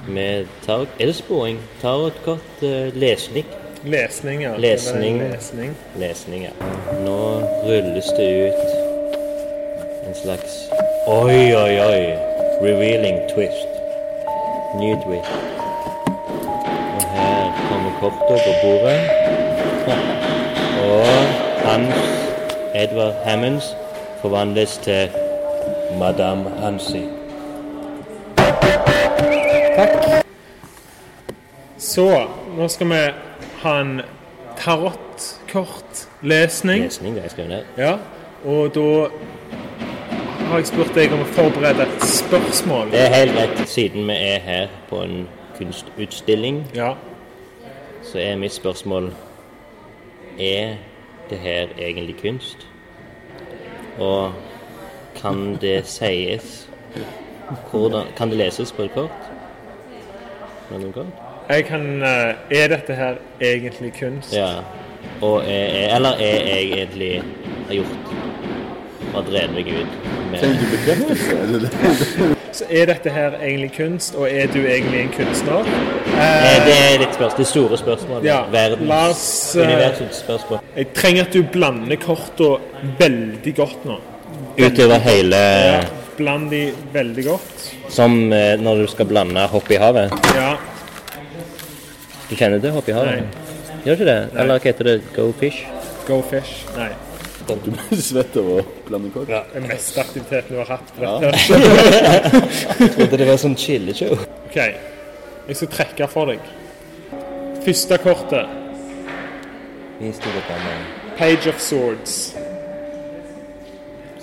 med tar Er det spåing? Tarotkort, eh, lesning, Lesning, ja. Lesning. Det var en lesning. lesning, ja. Nå rulles det ut en slags Oi, oi, oi! Revealing twist. Ny twist. Og her kommer kortet på bordet. Og Hans Edvard Hammonds forvandles til Madame Hansi. Så nå skal vi ha en tarotkortlesning. Lesning, det har jeg skrevet ned. Ja, og da har jeg spurt deg om å forberede et spørsmål. Det er helt rett. Siden vi er her på en kunstutstilling, Ja. så er mitt spørsmål Er det her egentlig kunst? Og kan det sies Hvordan, Kan det leses på et kort? Med noen kort? Jeg kan eh, Er dette her egentlig kunst? Ja. Og er, er, eller er jeg egentlig har gjort og drevet meg ut med Trenger du bekreftelse? eller? Så er dette her egentlig kunst, og er du egentlig en kunstner? Eh, Det er litt spørsmål, det store spørsmålet. Ja, Verdens, la oss, eh, universets spørsmål. Jeg trenger at du blander kortene veldig godt nå. Utover hele Ja, Bland de veldig godt. Som eh, når du skal blande hopp i havet. Ja. Du kjenner til hopp i havet? Gjør du ikke det? Eller hva heter det? Go fish? Go fish. Nei. Du blir svett av å blande kort. Det er mest aktiviteten du har hatt. på dette. Trodde det var sånn chilleshow. Ok, jeg skal trekke for deg. Første kortet, Vis deg dette med Page of Swords.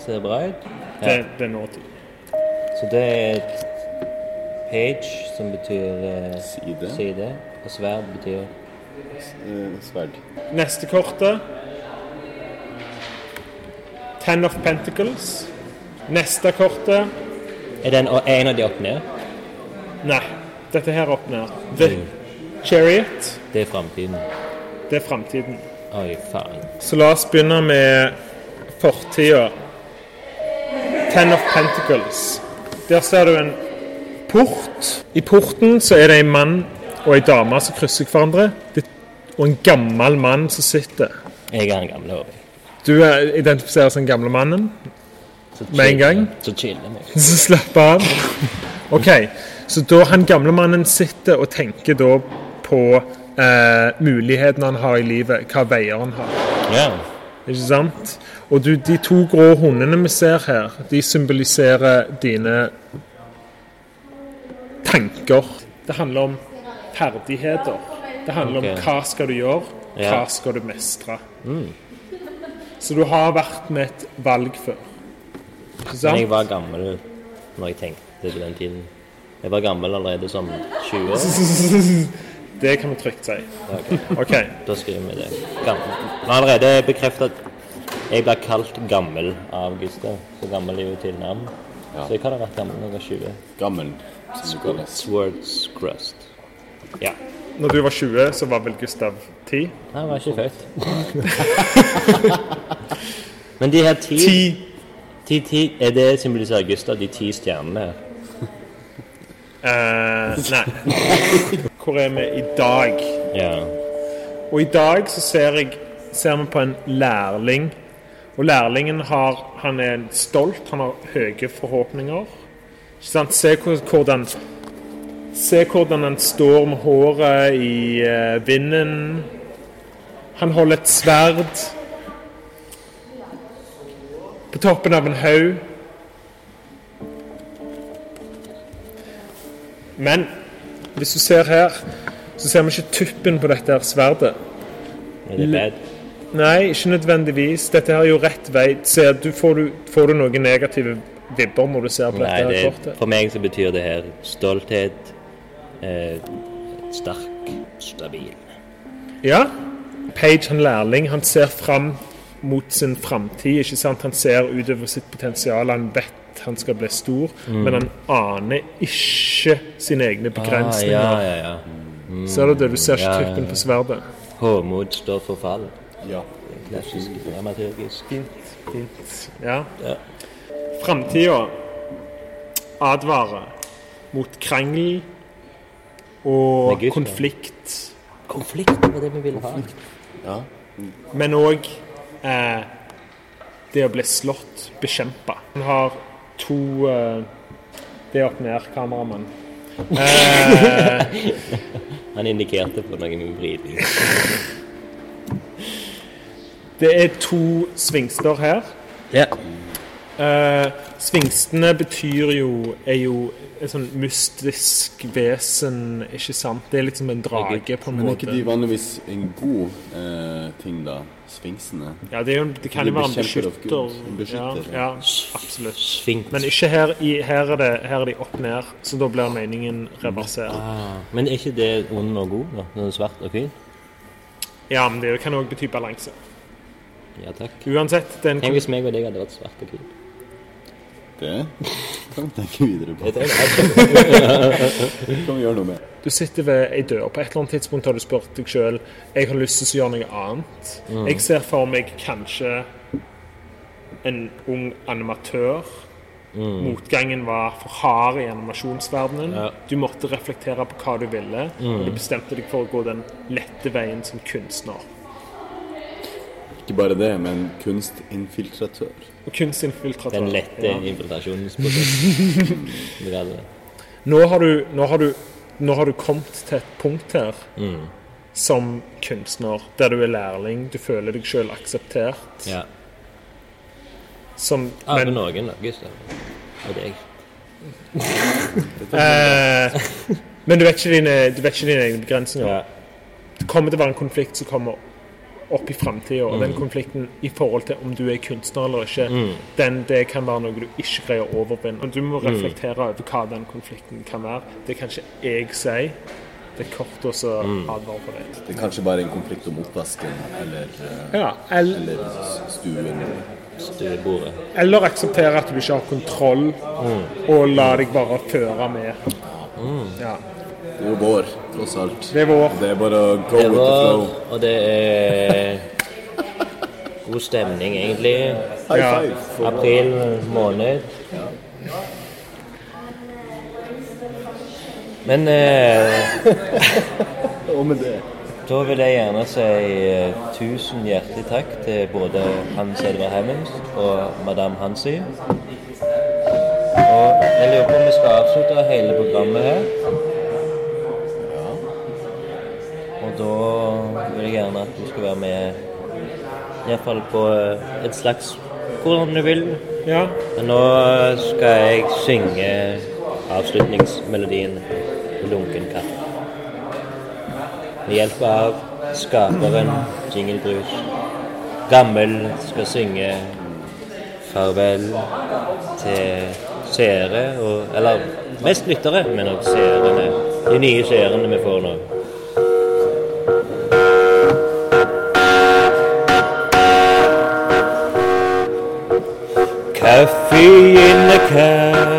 Ser bra ut. Det, det er nåtid. Så det er et page, som betyr eh, Side. side. Og sverd betyr Eh, Sverd. Neste kortet, Ten of Pentacles. Neste kortet, Er den og en av de opp ned? nei, dette her opp ned. The Chariot, Det er framtiden. det er fremtiden. Oi, faen. Så la oss begynne med fortida. Ten of Pentacles. Der ser du en port. I porten så er det en mann og en dame som krysser hverandre. Det, og en gammel mann som sitter. Jeg er den gamle, håper jeg. Du er- identifiserer som den gamle mannen. Så Med en chill- gang? Så chiller vi. Så slapper han. OK. Så da han gamle mannen sitter og tenker da på eh, mulighetene han har i livet, hva veier han har. Ja. Ikke sant? Og du, de to grå hundene vi ser her, de symboliserer dine tanker. Det handler om ferdigheter. Det handler Ok. om hva skal du gjøre, hva Ja. skal du mestre. Så du har vært med et valg før. Ikke Men jeg sant? var gammel når jeg tenkte på den tiden. Jeg var gammel allerede som 20 år. Det kan vi trygt si. Ok. OK. Da skriver vi det. Gammel. Vi har allerede bekreftet at jeg ble kalt gammel av Gustav. Så gammel er jo til navn. Så jeg kan ha vært gammel når jeg var 20. Gammel. som det kalles. Swords Crust. Ja. Når du var 20, så var vel Gustav 10? Nei, jeg var ikke født. Men de her ti Ti. Ti, ti Er det symboliserer Gustav, de ti stjernene her? Eh, nei. Hvor er vi i dag? Ja. Og i dag så ser jeg ser vi på en lærling. Og lærlingen har, han er stolt, han har høye forhåpninger. Ikke sant? Se hvor- hvordan Se hvordan han står med håret i eh, vinden. Han holder et sverd på toppen av en haug. Men hvis du ser her, så ser vi ikke tuppen på dette her sverdet. Er det bad? Nei, ikke nødvendigvis. Dette her er jo rett vei. Ser du, får, du, får du noen negative vibber når du ser på Nei, dette her det, kortet? for meg så betyr det her stolthet, eh, sterk, stabil. Ja. Page, han lærling, han ser fram mot sin framtid, ikke sant? Han ser utover sitt potensial, han vet han skal bli stor, Mm. men han aner ikke sine egne begrensninger. Ah, ja, ja, ja. Mm. Ser du det? Du ser ikke Ja, ja, tuppen ja. på sverdet. Håmod står for fall. Ja. Klassisk dramaturgisk. Fint, fint. Ja. Ja. Framtida advarer mot krangel og Med Gud, ja. konflikt. Konflikt var det vi ville ha. Ja. Men òg eh, det å bli slått, bekjempa. Han har to eh, Det er opp ned, kameramann. Eh, Han indikerte på noe med vridning. det er to svingster her. Ja. Eh, svingstene betyr jo Er jo et sånn mystisk vesen, ikke sant? Det er liksom en drage, på en Men er måte. ikke de vanligvis en god eh, ting, da? Sfinksene? Ja, det, er jo, en- det kan De jo være en bekjemper av beskytter. Gud. En beskytter. Ja, ja, absolutt. Sfinks. Men ikke her, i, her, er det, her er de opp ned, så da blir meningen reversert. Ah, men er ikke det ond og god, da? Den er svart og fin? Ja, men det kan òg bety balanse. Ja takk. Uansett, det er en Tenk hvis meg og deg hadde vært svart og hvit. Det kan vi tenke videre på. Det Det kan vi gjøre noe med. Du sitter ved ei dør. På et eller annet tidspunkt har du spurt deg sjøl Jeg har lyst til å gjøre noe annet. Mm. Jeg ser for meg kanskje en ung animatør. Mm. Motgangen var for hard i animasjonsverdenen. Ja. Du måtte reflektere på hva du ville, Mm. og du bestemte deg for å gå den lette veien som kunstner. Ikke bare det, men kunstinfiltratør. Og kunstinfiltratør. Den lette Altså, Ja. infiltrasjonsprosessen. Vi kaller det. Nå, har du- nå, har du- nå har du kommet til et punkt her Mm. som kunstner, der du er lærling, du føler deg sjøl akseptert Ja. som Av men- noen, da, Gustav. Og deg. Eh, men du vet ikke dine, du vet ikke dine egne begrensninger. Ja. Det kommer til å være en konflikt som kommer opp i framtida. Og den konflikten i forhold til om du er kunstner eller ikke, Mm. den, det kan være noe du ikke greier å overvinne. Og du må reflektere over hva den konflikten kan være. Det kan ikke jeg si. Det er kort og så advarer på det. Det er kanskje bare en konflikt om oppvasken eller, eh, Ja, eller, eller stuen. Stuebordet. eller akseptere at du ikke har kontroll, og la deg bare føre med. Ja. Det er jo vår, tross alt. Det er vår. Det er bare å go Det with the var, flow. og det er god stemning, egentlig. High Ja. five. for- April måned. Men eh, Og med det da vil jeg gjerne si eh, tusen hjertelig takk til både Hans Edvard Hemmings og Madame Hansi. Og jeg lurer på om vi skal avslutte hele programmet her. Og da vil jeg gjerne at du skal være med iallfall på eh, et slags hvordan du vil. ja. Men nå øh, skal jeg synge øh, avslutningsmelodien på Lunken kaffe. Med hjelp av skaperen Jingelbrus. Gammel skal synge farvel til seere og Eller mest lyttere, men også seerne. De nye seerne vi får nå. Coffee in the cup.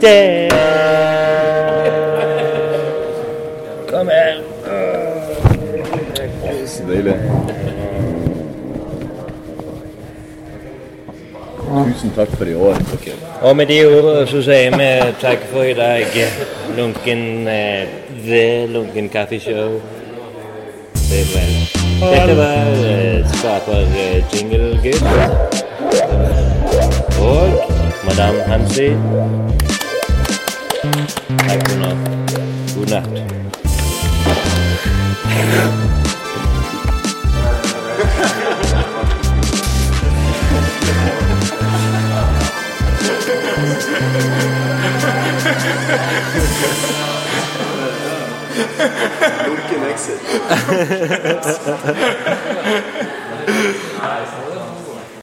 Der! Kom her. Så deilig. Tusen takk for i år. dere. Og med de ordene så sier vi takk for i dag. Lunken eh, The Lunken Kaffeshow. Det var Dette var eh, skaper eh, Jingle Gutt. Og Madame Hansi. Takk for nå. God natt. Lunken exit.